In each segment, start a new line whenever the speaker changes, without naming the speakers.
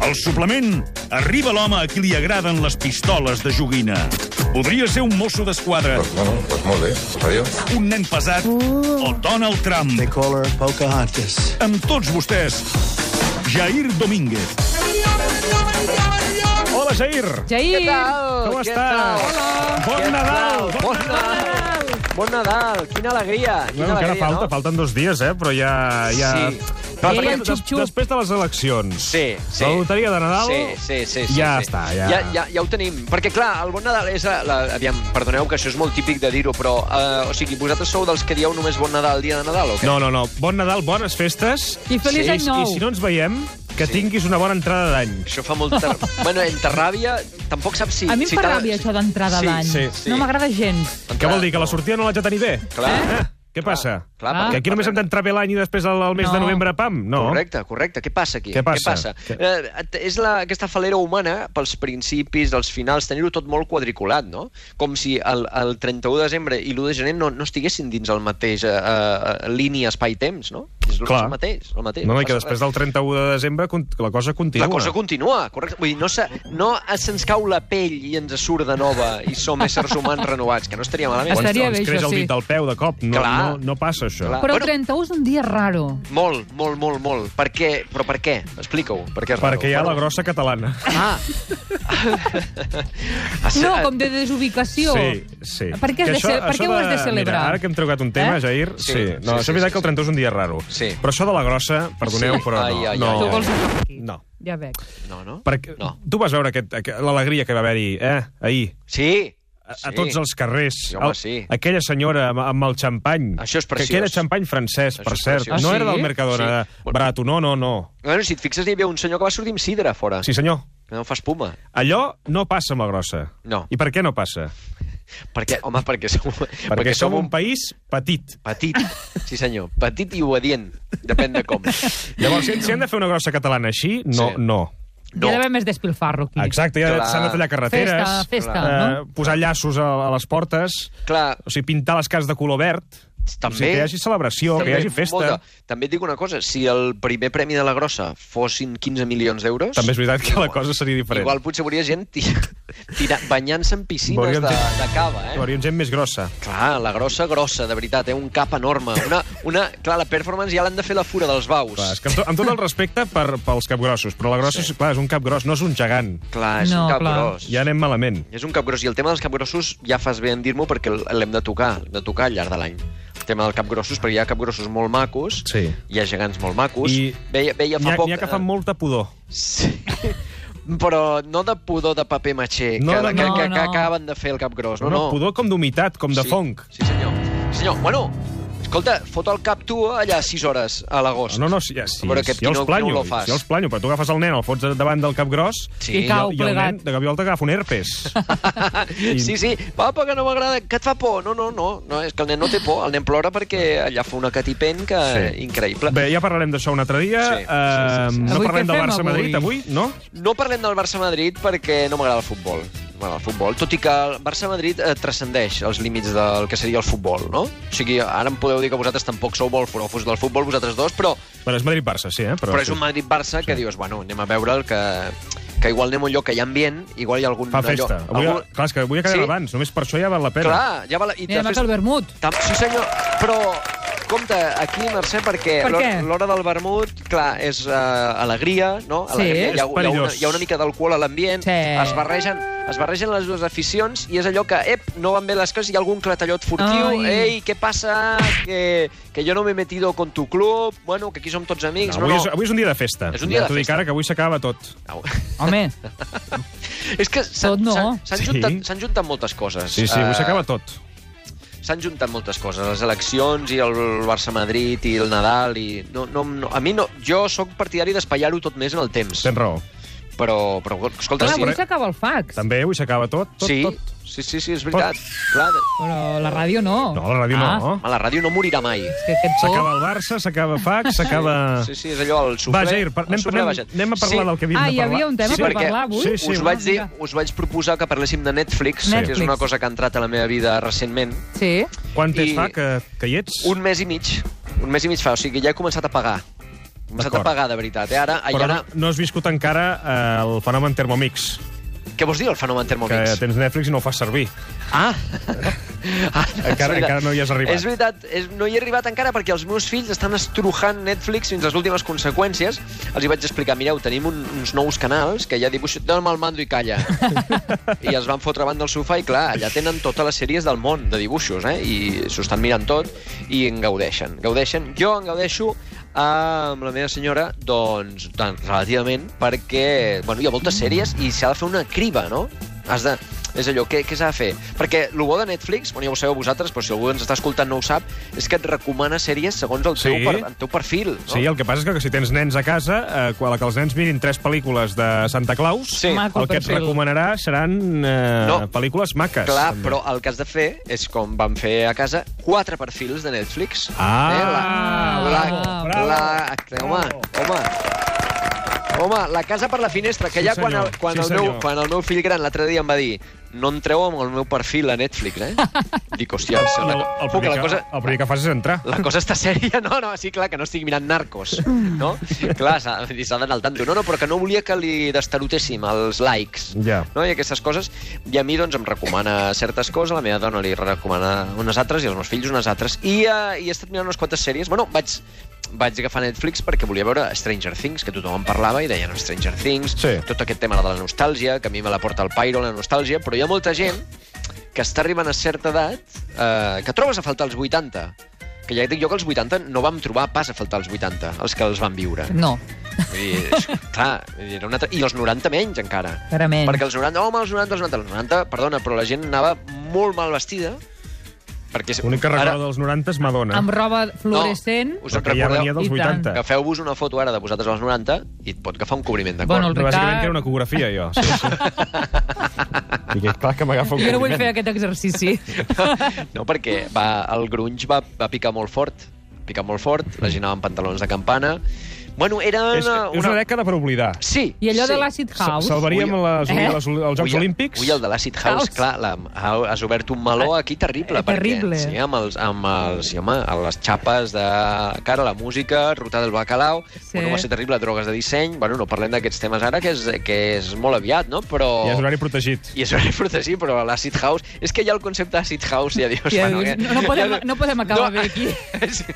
Al suplement, arriba l'home a qui li agraden les pistoles de joguina. Podria ser un mosso d'esquadra,
Doncs, Pues bueno, doncs molt bé. Adiós.
un nen pesat o Donald Trump.
They call her Pocahontas.
Amb tots vostès, Jair Domínguez. Hola, Jair.
Jair!
Com
Què
estàs?
tal?
Bon
Què
Nadal!
tal? Bon Nadal! Bon Nadal! Quina alegria! Quina
Bueno, encara
alegria,
falta,
no?
falten dos dies, eh? Però ja... ja...
Sí.
Clar,
Ei,
perquè
el
des-
xup-xup.
després de les eleccions,
Sí, sí.
la loteria de Nadal...
Sí, sí, sí, sí,
ja
sí.
està, ja.
Ja, ja, ja ho tenim. Perquè, clar, el bon Nadal és... eh, La, la, aviam, perdoneu que això és molt típic de dir-ho, però... Eh, o sigui, vosaltres sou dels que dieu només bon Nadal el dia de Nadal, o què?
No, no, no. Bon Nadal, bones festes.
I feliç
I,
any nou.
I si no ens veiem, que
Sí.
sí. tinguis una bona entrada d'any.
Això fa molta... bueno, entre ràbia... Tampoc saps si...
A mi em
si
fa
t'ha-
ràbia, això d'entrada
sí,
d'any.
Sí, sí.
No m'agrada gens.
Què vol dir, que la sortida no l'haig de tenir bé?
Clar.
Eh? Què passa?
Clar,
Ah.
perquè-
Que aquí només hem d'entrar bé l'any i després el, el mes
No.
de novembre, pam? No.
Correcte, correcte. Què passa aquí?
Què passa?
Què passa? Eh, és la, aquesta falera humana pels principis, dels finals, tenir-ho tot molt quadriculat, no? Com si el, el 31 de desembre i l'1 de gener no, no estiguessin dins el mateix eh, eh, línia espai-temps, no? És el,
Clar.
el mateix, el mateix.
No, no, i
passa
que després del 31 de desembre con- la cosa continua.
La cosa continua, correcte. Vull dir, no, se, no se'ns cau la pell i ens surt de nova i som éssers humans renovats, que no estaria malament.
Quan-
Estaria
quan
bé,
ens creix
això,
el
sí.
dit del peu de cop. No,
Clar.
no, no passa, això.
Clar.
Però el
Bueno.
31 és un dia raro.
Molt, molt, molt, molt. Per què? Però per què? Explica-ho. Per què és raro?
Perquè hi ha la
Bueno,
grossa catalana.
Ah.
No, com de desubicació.
Sí, sí.
Per què, has
Que
de, ce- per què ho has de celebrar?
Mira, ara que hem trucat un tema,
Eh?
eh? Jair...
Sí,
Sí,
sí,
sí. No,
sí,
és veritat
sí,
que el 31 és un dia raro.
Sí.
Però això de la grossa, perdoneu,
Sí.
però
Ai,
no.
ai,
no.
ai,
Tu vols entrar aquí?
No.
Ja veig.
No, no?
Perquè
No.
tu vas veure aquest, aqu- l'alegria que va haver-hi eh, ahir
Sí.
a, a tots els carrers.
Sí, home,
El-
sí.
Aquella senyora amb, amb el xampany.
Això és preciós.
Que, que era xampany francès,
Això
per
és
cert.
preciós.
No
Ah,
era
sí?
del Mercadona
Sí.
de Brato, no, no, no.
Bueno, si et fixes, hi havia un senyor que va sortir amb sidra fora.
Sí, senyor.
Que No fa espuma.
Allò no passa amb la grossa.
No.
I per què no passa?
Perquè, home, perquè som,
Perquè, Perquè som un país petit.
Petit, sí senyor. Petit i obedient. Depèn de com.
Llavors, si, si hem de fer una grossa catalana així, no,
Sí.
no.
No. Hi ha d'haver més despilfarro aquí.
Exacte, ja
Clar.
s'han de tallar carreteres.
Festa, festa,
eh,
no?
Posar llaços a, a les portes.
Clar,
O sigui, pintar les cases de color verd.
També.
O sigui, que hi hagi celebració, que hi hagi festa.
Molta. També et dic una cosa, si el primer premi de la grossa fossin 15 milions d'euros...
També és veritat que la cosa seria diferent.
Igual potser veuria gent tira, tira, banyant-se en piscines
Veuríem
de,
gent-
de cava, eh?
Hi hauria gent més grossa.
Clar, la grossa, grossa, de veritat, eh? un cap enorme. Una, una... Clar, la performance ja l'han de fer la fura dels baus.
Clar, és que amb, to, amb tot el respecte per, pels capgrossos, però la grossa,
Sí.
sí. clar, és un capgros, no és un gegant.
clar és
No,
un cap
clar.
gros.
Ja anem malament.
És un capgròs. I el tema dels capgrossos ja fas bé en dir-m'ho perquè l'hem de tocar, l'hem de tocar al llarg de l'any. El tema del capgrossos, perquè hi ha capgrossos molt macos,
Sí.
hi ha gegants molt macos.
I
Veia, veia
N'hi
fa
ha,
poc...
n'hi ha que
eh,
fan molta pudor.
Sí. Però no de pudor de paper matxer,
No,
que,
no,
que,
no,
que, que
no.
acaben de fer el capgròs. No,
No, no, pudor com d'humitat, com de
sí,
fong.
Sí, senyor. Sí, senyor. Bueno, escolta, fot el cap tu allà 6 hores a l'agost.
No, no, sí, ja, sí,
Però que
jo els
Pinocchio
planyo,
no ho fas.
jo els planyo, però tu agafes el nen, el fots davant del capgros
I
Sí.
cau
i el
plegat.
nen de gaviol t'agafa un herpes.
Sí, sí, papa, que no m'agrada, que et fa por. No, no, no, no, és que el nen no té por, el nen plora perquè allà fa una catipent que...
Sí.
Increïble.
Bé, ja parlarem d'això un altre dia.
Sí, sí, sí, sí.
Eh, no
Avui
parlem
què
del
fem,
Barça-Madrid
avui?
avui? no?
No parlem del Barça-Madrid perquè no m'agrada el futbol. No m'agrada el futbol, tot i que el Barça-Madrid eh, transcendeix els límits del que seria el futbol, no? O sigui, ara em podeu dir que vosaltres tampoc sou molt forofos del futbol, vosaltres dos, però,
Però és Madrid-Barça, sí, eh? Però,
però és un Madrid-Barça que dius, bueno, anem a veure el que que igual anem a un lloc que hi ha ambient, igual hi ha algun...
Fa festa.
Allò,
Avui,
algun...
Clar, és que avui acabem
Sí.
sí. abans, només per això ja val la pena.
Clar, ja va... La... I
Mira, després... el vermut.
Tam... Sí, senyor, però... Compte, aquí, Mercè, perquè
Per
l'hora-
què?
l'hora del vermut, clar, és uh, alegria, no?
Sí.
Alegria.
És
Hi, ha, hi, ha una,
perillós.
hi ha una mica d'alcohol a l'ambient,
Sí.
es barregen es barregen les dues aficions i és allò que, ep, no van bé les coses, hi ha algun clatellot furtiu,
Ai.
ei, què passa, que, que jo no m'he metido con tu club, bueno, que aquí som tots amics,
No, avui,
no,
és,
no.
avui és un dia de festa.
És un dia
ja
de
t'ho dic
festa.
ara, que avui s'acaba tot.
Au.
Home,
És que s'han
Tot no.
s'han- s'han
Sí.
juntat, s'han juntat moltes coses.
Sí, sí, avui
Eh,
s'acaba tot.
s'han juntat moltes coses, les eleccions i el Barça-Madrid i el Nadal i... No, no, no, a mi no, jo sóc partidari d'espaiar-ho tot més en el temps,
Tens raó.
però, però escolta,
clar,
sí,
avui s'acaba el fax.
També avui s'acaba tot, tot,
sí,
tot.
sí, sí, sí, és veritat. Clar,
Però la ràdio no.
No, la ràdio
ah,
no.
home, la ràdio no morirà mai.
És que aquest
S'acaba
to...
el Barça, s'acaba Fax, s'acaba...
Sí, sí, és allò, el
Va,
suflet.
Jair, par- anem, anem, anem a parlar
sí,
del que havíem
Ah,
de
hi
parlar.
havia un tema
Sí,
per
perquè-
parlar avui?
Sí,
Sí,
sí.
us,
va,
vaig dir,
vinga.
us vaig proposar que parléssim de Netflix, que és
Netflix.
una cosa que ha entrat a la meva vida recentment.
Sí.
Quant temps
I-
fa que, que hi ets?
Un mes i mig. Un mes i mig fa, o sigui que ja he començat a pagar. M'has de
D'acord.
pagar, de veritat. Eh? Ara,
Però
Però...
no,
ara,
no has viscut encara eh, el fenomen Thermomix,
què vols dir, el fenomen
que
Thermomix?
tens Netflix i no ho fas servir.
Ah!
Encara-
ah és veritat.
encara no hi has arribat.
És veritat, és, no hi he arribat encara perquè els meus fills estan estrujant Netflix fins a les últimes conseqüències. Els hi vaig explicar, mireu, tenim un, uns nous canals que ja dibuixo, dóna'm el mando i calla. I es van fotre davant del sofà i, clar, allà tenen totes les sèries del món de dibuixos, eh? I s'ho estan mirant tot i en gaudeixen. Gaudeixen. Jo en gaudeixo amb la meva senyora, doncs, doncs relativament, perquè, bueno, hi ha moltes sèries i s'ha de fer una criba, no? Has de... És allò, què, què s'ha de fer? Perquè el bo de Netflix, bueno, ja ho sabeu vosaltres, però si algú ens està escoltant no ho sap, és que et recomana sèries segons el,
Sí.
teu, per, el teu perfil. No?
Sí, el que passa és que si tens nens a casa, eh, quan que els nens mirin tres pel·lícules de Santa Claus,
Sí.
Maco
el que et
perfil.
recomanarà seran eh, no.
No.
pel·lícules maques.
Clar, però el que has de fer és, com van fer a casa, quatre perfils de Netflix. Eh,
Ah,
la,
bravo,
la,
bravo.
home, home. Home, la casa per la finestra, que
Sí,
ja quan
senyor.
el, quan,
Sí,
el meu,
senyor.
quan el meu fill gran l'altre dia em va dir no em treu amb el meu perfil a Netflix, eh? Dic, hòstia, el,
El,
el,
el,
el,
primer
la
que,
cosa...
el primer que fas és entrar.
la cosa està sèria. No, no, sí, clar, que no estigui mirant narcos,
Mm.
no? Clar, s'ha vull dir, s'ha d'anar al tanto. No, no, però que no volia que li destarotéssim els likes,
Ja.
no? I aquestes coses. I a mi, doncs, em recomana certes coses, la meva dona li recomana unes altres, i als meus fills unes altres. I, eh, i he estat mirant unes quantes sèries. Bueno, vaig, vaig agafar Netflix perquè volia veure Stranger Things, que tothom en parlava i deien Stranger Things,
Sí.
tot aquest tema de la nostàlgia, que a mi me la porta el Pyro, la nostàlgia, però hi ha molta gent que està arribant a certa edat eh, que trobes a faltar els 80. Que ja et dic jo que els 80 no vam trobar pas a faltar els 80, els que els van viure.
No,
Vull dir, és, clar, vull dir, era una altra... I els 90 menys, encara.
encara menys.
Perquè els 90, home, els 90, els 90, els 90, perdona, però la gent anava molt mal vestida. Perquè...
L'únic que recordo dels 90 és Madonna.
Amb roba fluorescent...
us en
que ja
recordeu?
venia dels
I tant.
80.
Agafeu-vos una foto ara de vosaltres als 90 i et pot agafar un cobriment de cor.
Bueno, el
Però
Ricard...
Bàsicament que era una ecografia, jo. Sí, sí. I que, clar que m'agafa un
Jo no vull
compliment.
fer aquest exercici.
No, perquè va, el grunge va, va picar molt fort. Picar molt fort, la gent anava amb pantalons de campana. Bueno, era una...
És, és una dècada per oblidar.
Sí,
I allò
sí.
de l'Acid
Sa-
House...
Salvaríem
Ui,
les,
eh?
les, els Jocs
Ui,
Olímpics.
Ui, el de l'Acid House,
House.
House, clar, la, ha- has obert un meló aquí terrible.
Eh, terrible.
Perquè, sí, amb, els, amb, els, sí, home, amb les xapes de cara, la música, Ruta del Bacalao,
Sí.
sí. bueno, va ser terrible, drogues de disseny... Bueno, no parlem d'aquests temes ara, que és, que és molt aviat, no? Però...
Ja és horari protegit.
I és horari protegit, però l'Acid House... És que ja el concepte Acid House, ja dius...
Ja
bueno,
dius,
que-
no- no podem- no podem acabar bé aquí.
Sí,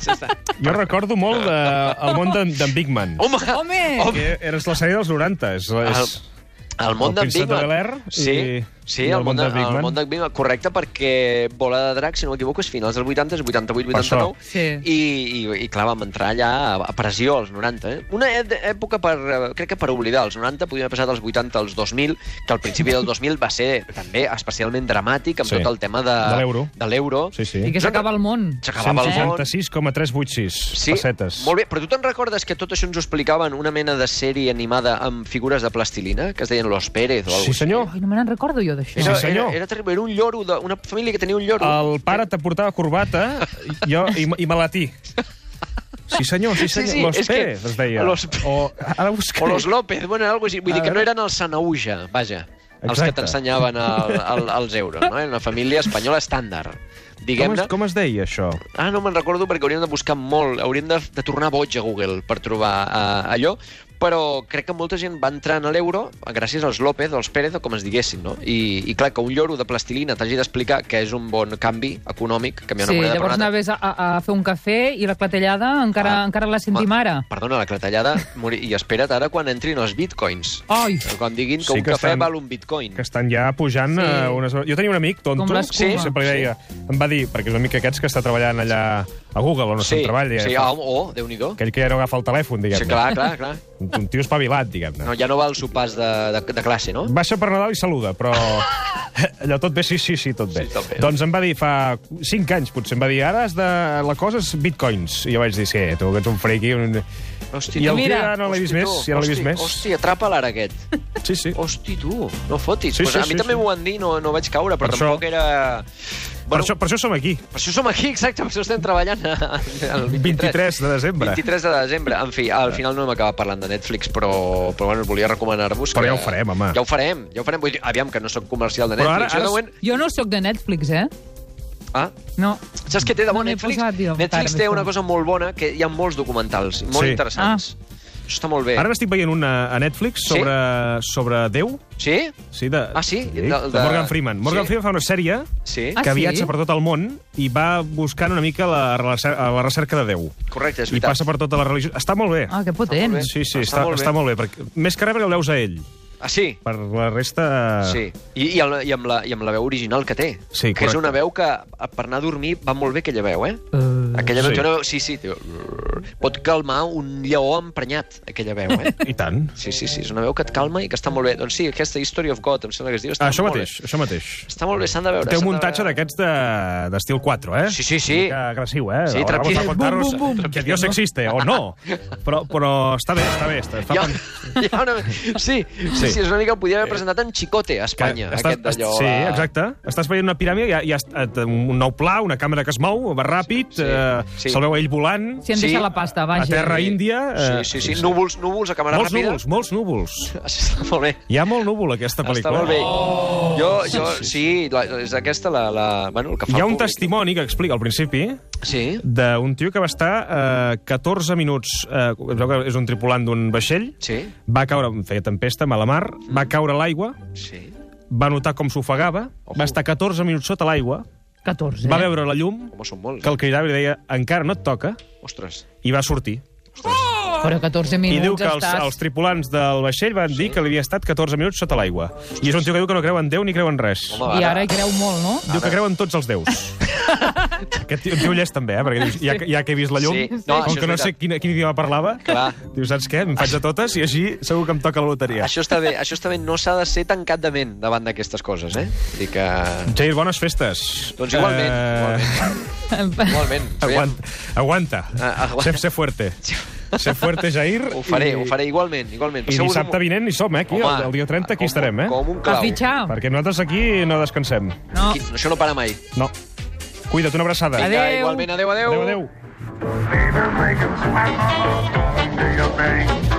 sí, està.
Jo recordo molt de, el món d'en d'en Big Man.
Home!
Home!
home
Que era la sèrie dels 90. És,
Ah,
és...
El món
El
d'en
príncep
Big Man.
de Bel-Air
sí,
i-
sí,
i
el, món de, el món de Big Man, correcte, perquè Bola de Drac, si no m'equivoco, és finals dels 80, és 88,
Per això.
89,
Sí.
i, i, i clar, vam entrar allà a, a pressió, als 90. Eh? Una e- època, per, eh, crec que per oblidar, els 90, podíem haver passat als 80, als 2000, que al principi del 2000 va ser també especialment dramàtic amb
Sí.
sí. tot el tema de,
De l'euro.
de l'euro.
Sí, sí.
I que s'acaba el món.
S'acabava el món.
166,386
Sí,
pessetes.
molt bé. Però tu te'n recordes que tot això ens ho explicaven una mena de sèrie animada amb figures de plastilina, que es deien Los Pérez o alguna
Sí, senyor.
Ai, no me n'en recordo jo d'això.
Era,
Sí, senyor.
era, era terrible, era un lloro, de, una família que tenia un lloro.
El pare te portava corbata jo, i, i malatí. Sí, senyor, sí,
Sí,
senyor.
sí,
los
és que-
Pérez, es deia.
Los-
O, ara buscaré.
O los López, bueno, era algo així. Vull dir
A
que no
veure.
eren els Sanauja, vaja, els
Ah. Exacte.
que t'ensenyaven el, el, els euros, no? Era una família espanyola estàndard.
com, es,
Diguem-ne...
com es deia, això?
Ah, no me'n recordo perquè hauríem de buscar molt, hauríem de, de tornar boig a Google per trobar uh, allò, però crec que molta gent va entrar en l'euro gràcies als López, als Pérez, o com es diguessin, no? I, i clar, que un lloro de plastilina t'hagi d'explicar que és un bon canvi econòmic, canviar
Sí,
una moneda per una
llavors anaves
altra.
a, a, a fer un cafè i la clatellada encara,
Ah.
encara la sentim
Home,
ara.
Perdona, la clatellada, mori... i espera't ara quan entrin els bitcoins.
Ai,
Quan diguin que
Sí
un
que
cafè
estan-
val un bitcoin.
que estan ja pujant
Sí.
sí. a unes... Jo tenia un amic, tonto,
Com l'escuma.
que sempre li deia... Em va dir, perquè és un amic aquests que està treballant allà a Google, on no se'n treballa. eh,
sí, ah, oh, Déu-n'hi-do.
Aquell que ja no agafa el telèfon,
Sí,
diguem-ne.
clar, clar, clar.
Un, un tio espavilat, diguem-ne.
No, ja no va als sopars de, de, de classe, no?
Baixa per Nadal i saluda, però... Allò tot bé, sí, sí, sí, tot bé.
Sí, tot bé.
Doncs em va dir fa 5 anys, potser, em va dir, ara has de... la cosa és bitcoins. I jo vaig dir, sí, tu, que ets un friqui. Un...
Hosti,
I el
tu,
tio
mira.
ja no l'he vist més, ja no l'he vist
hosti,
més.
Hosti, atrapa l'ara aquest.
Sí, sí.
Hosti, tu, no fotis.
Sí,
Sí, pues
sí,
a mi
sí,
també
sí.
m'ho van dir, no, no vaig caure, però
Per
tampoc
això-
era...
Per,
Bueno,
això, per això som aquí.
per això som aquí, exacte, per això estem treballant a- el 23.
23 de desembre.
23 de desembre. En fi, al final no hem acabat parlant de Netflix, però, però bueno, volia recomanar-vos que...
Però ja ho farem, home.
Ja ho farem, ja ho farem. Vull dir, aviam, que no sóc comercial de
Però ara- ara-
Netflix. Ara, ara... Jo de moment...
jo no sóc de Netflix, eh?
Ah,
No.
Saps què té de
No
bo
m'he
Netflix?
posat jo,
Netflix
encara,
té
més
una
com.
cosa molt bona, que hi ha molts documentals, molt
Sí.
interessants.
Ah.
Això està molt bé.
Ara n'estic veient una a Netflix
Sí?
sobre, sobre Déu.
Sí?
Sí, de,
Ah, sí?
De,
Del-
de
de-
Morgan Freeman. Morgan
Sí?
Freeman fa una sèrie
Sí?
Ah,
que
sí?
viatja per tot el món i va buscant una mica la, recer- a la recerca de Déu.
Correcte, és
I
veritat.
passa per tota la religió. Està molt bé.
Ah, que potent.
bé.
Sí, sí, està, està,
Està molt
molt,
bé.
està molt bé. Perquè, més que res perquè el veus a ell.
Ah, sí?
Per la resta...
Sí, I, i, el, i, amb la, i amb la veu original que té.
Ah. Sí,
que és
correcte.
una veu que, a- per anar a dormir, va molt bé aquella veu, eh?
Eh,
Aquella veu,
Sí.
sí. Una veu, sí, sí, tio, pot calmar un lleó emprenyat, aquella veu, eh?
I tant.
Sí, sí, sí, és una veu que et calma i que està molt bé. Doncs sí, aquesta History of God, em sembla que es diu, està
Ah, Això
molt
mateix,
bé.
això mateix.
Està molt bé, s'han de veure.
Té un
s'han de
muntatge
veure.
d'aquests de- d'estil 4, eh?
Sí, sí, sí.
Una mica agressiu, eh?
Sí,
Ahora vamos a
trepidant.
contaros
Bum, bum, bum.
Que Dios existe, o no. Però, però està bé, està bé. Està, està
Hi ha,
pen-
hi ha una... sí, sí, sí, és una mica que podria haver presentat en Chicote a Espanya,
Eh, que
aquest d'allò...
Sí,
la-
exacte. Estàs veient una piràmide, hi ha, hi ha est- un nou pla, una càmera que es mou, va ràpid,
Sí, sí,
eh,
sí.
se'l veu ell volant,
Si han
Sí,
deixat la pasta, vaja.
a terra índia... eh,
Sí, sí, sí, núvols, núvols a càmera
Molts
ràpida.
núvols, molts núvols.
Està molt bé.
Hi ha molt núvol, aquesta
Està
pel·lícula. Oh!
molt bé. Jo, jo, sí, la, és aquesta la, la... Bueno, el que fa
Hi ha
el
un
públic.
testimoni que explica al principi
Sí,
d'un tio que va estar eh, 14 minuts, eh, es veu que és un tripulant d'un vaixell,
sí,
va caure, feia tempesta, mala mar, va caure a l'aigua,
sí.
va notar com s'ofegava, va estar 14 minuts sota l'aigua,
14.
va veure la llum,
Home, són molts. eh?
que el cridava i li deia encara no et toca,
Ostres.
i va sortir.
Però 14
I
minuts
diu que els,
estàs...
els tripulants del vaixell van dir que li havia estat 14 minuts sota l'aigua. I és un tio que diu que no creu en Déu ni creu en res.
Home,
I ara hi creu molt, no?
Diu que creu en tots els déus. Aquest tio, tio llest també, eh? Perquè dius, ja, que- ja que he vist la llum,
Sí. No,
no,
això
com
és
que no sé
veritat.
quin, quin idioma parlava,
Clar.
dius, saps què? Em faig de totes i així segur que em toca la loteria.
Això està bé, això està bé. No s'ha de ser tancat de ment davant d'aquestes coses, eh? Vull dir que...
Jair, bones festes.
Doncs igualment,
Eh, Ah.
igualment. Igualment.
Aguanta. aguanta.
Ah, aguanta.
Sé, sé fuerte. Sé fuerte, Jair.
Ho faré,
i-
ho faré igualment, igualment.
I
Passeu-vos un
dissabte
mo-
vinent hi som, eh, aquí,
Home,
el, el dia 30, aquí
com-
estarem, eh?
Com un
A
clau.
fitxar.
Perquè nosaltres aquí no descansem.
No.
Qui- Això no para mai.
No. Cuida't, una abraçada.
Adéu.
Ja, igualment, adeu, adeu.
adéu. adéu.
Baby, make 'em sweat all over your thing.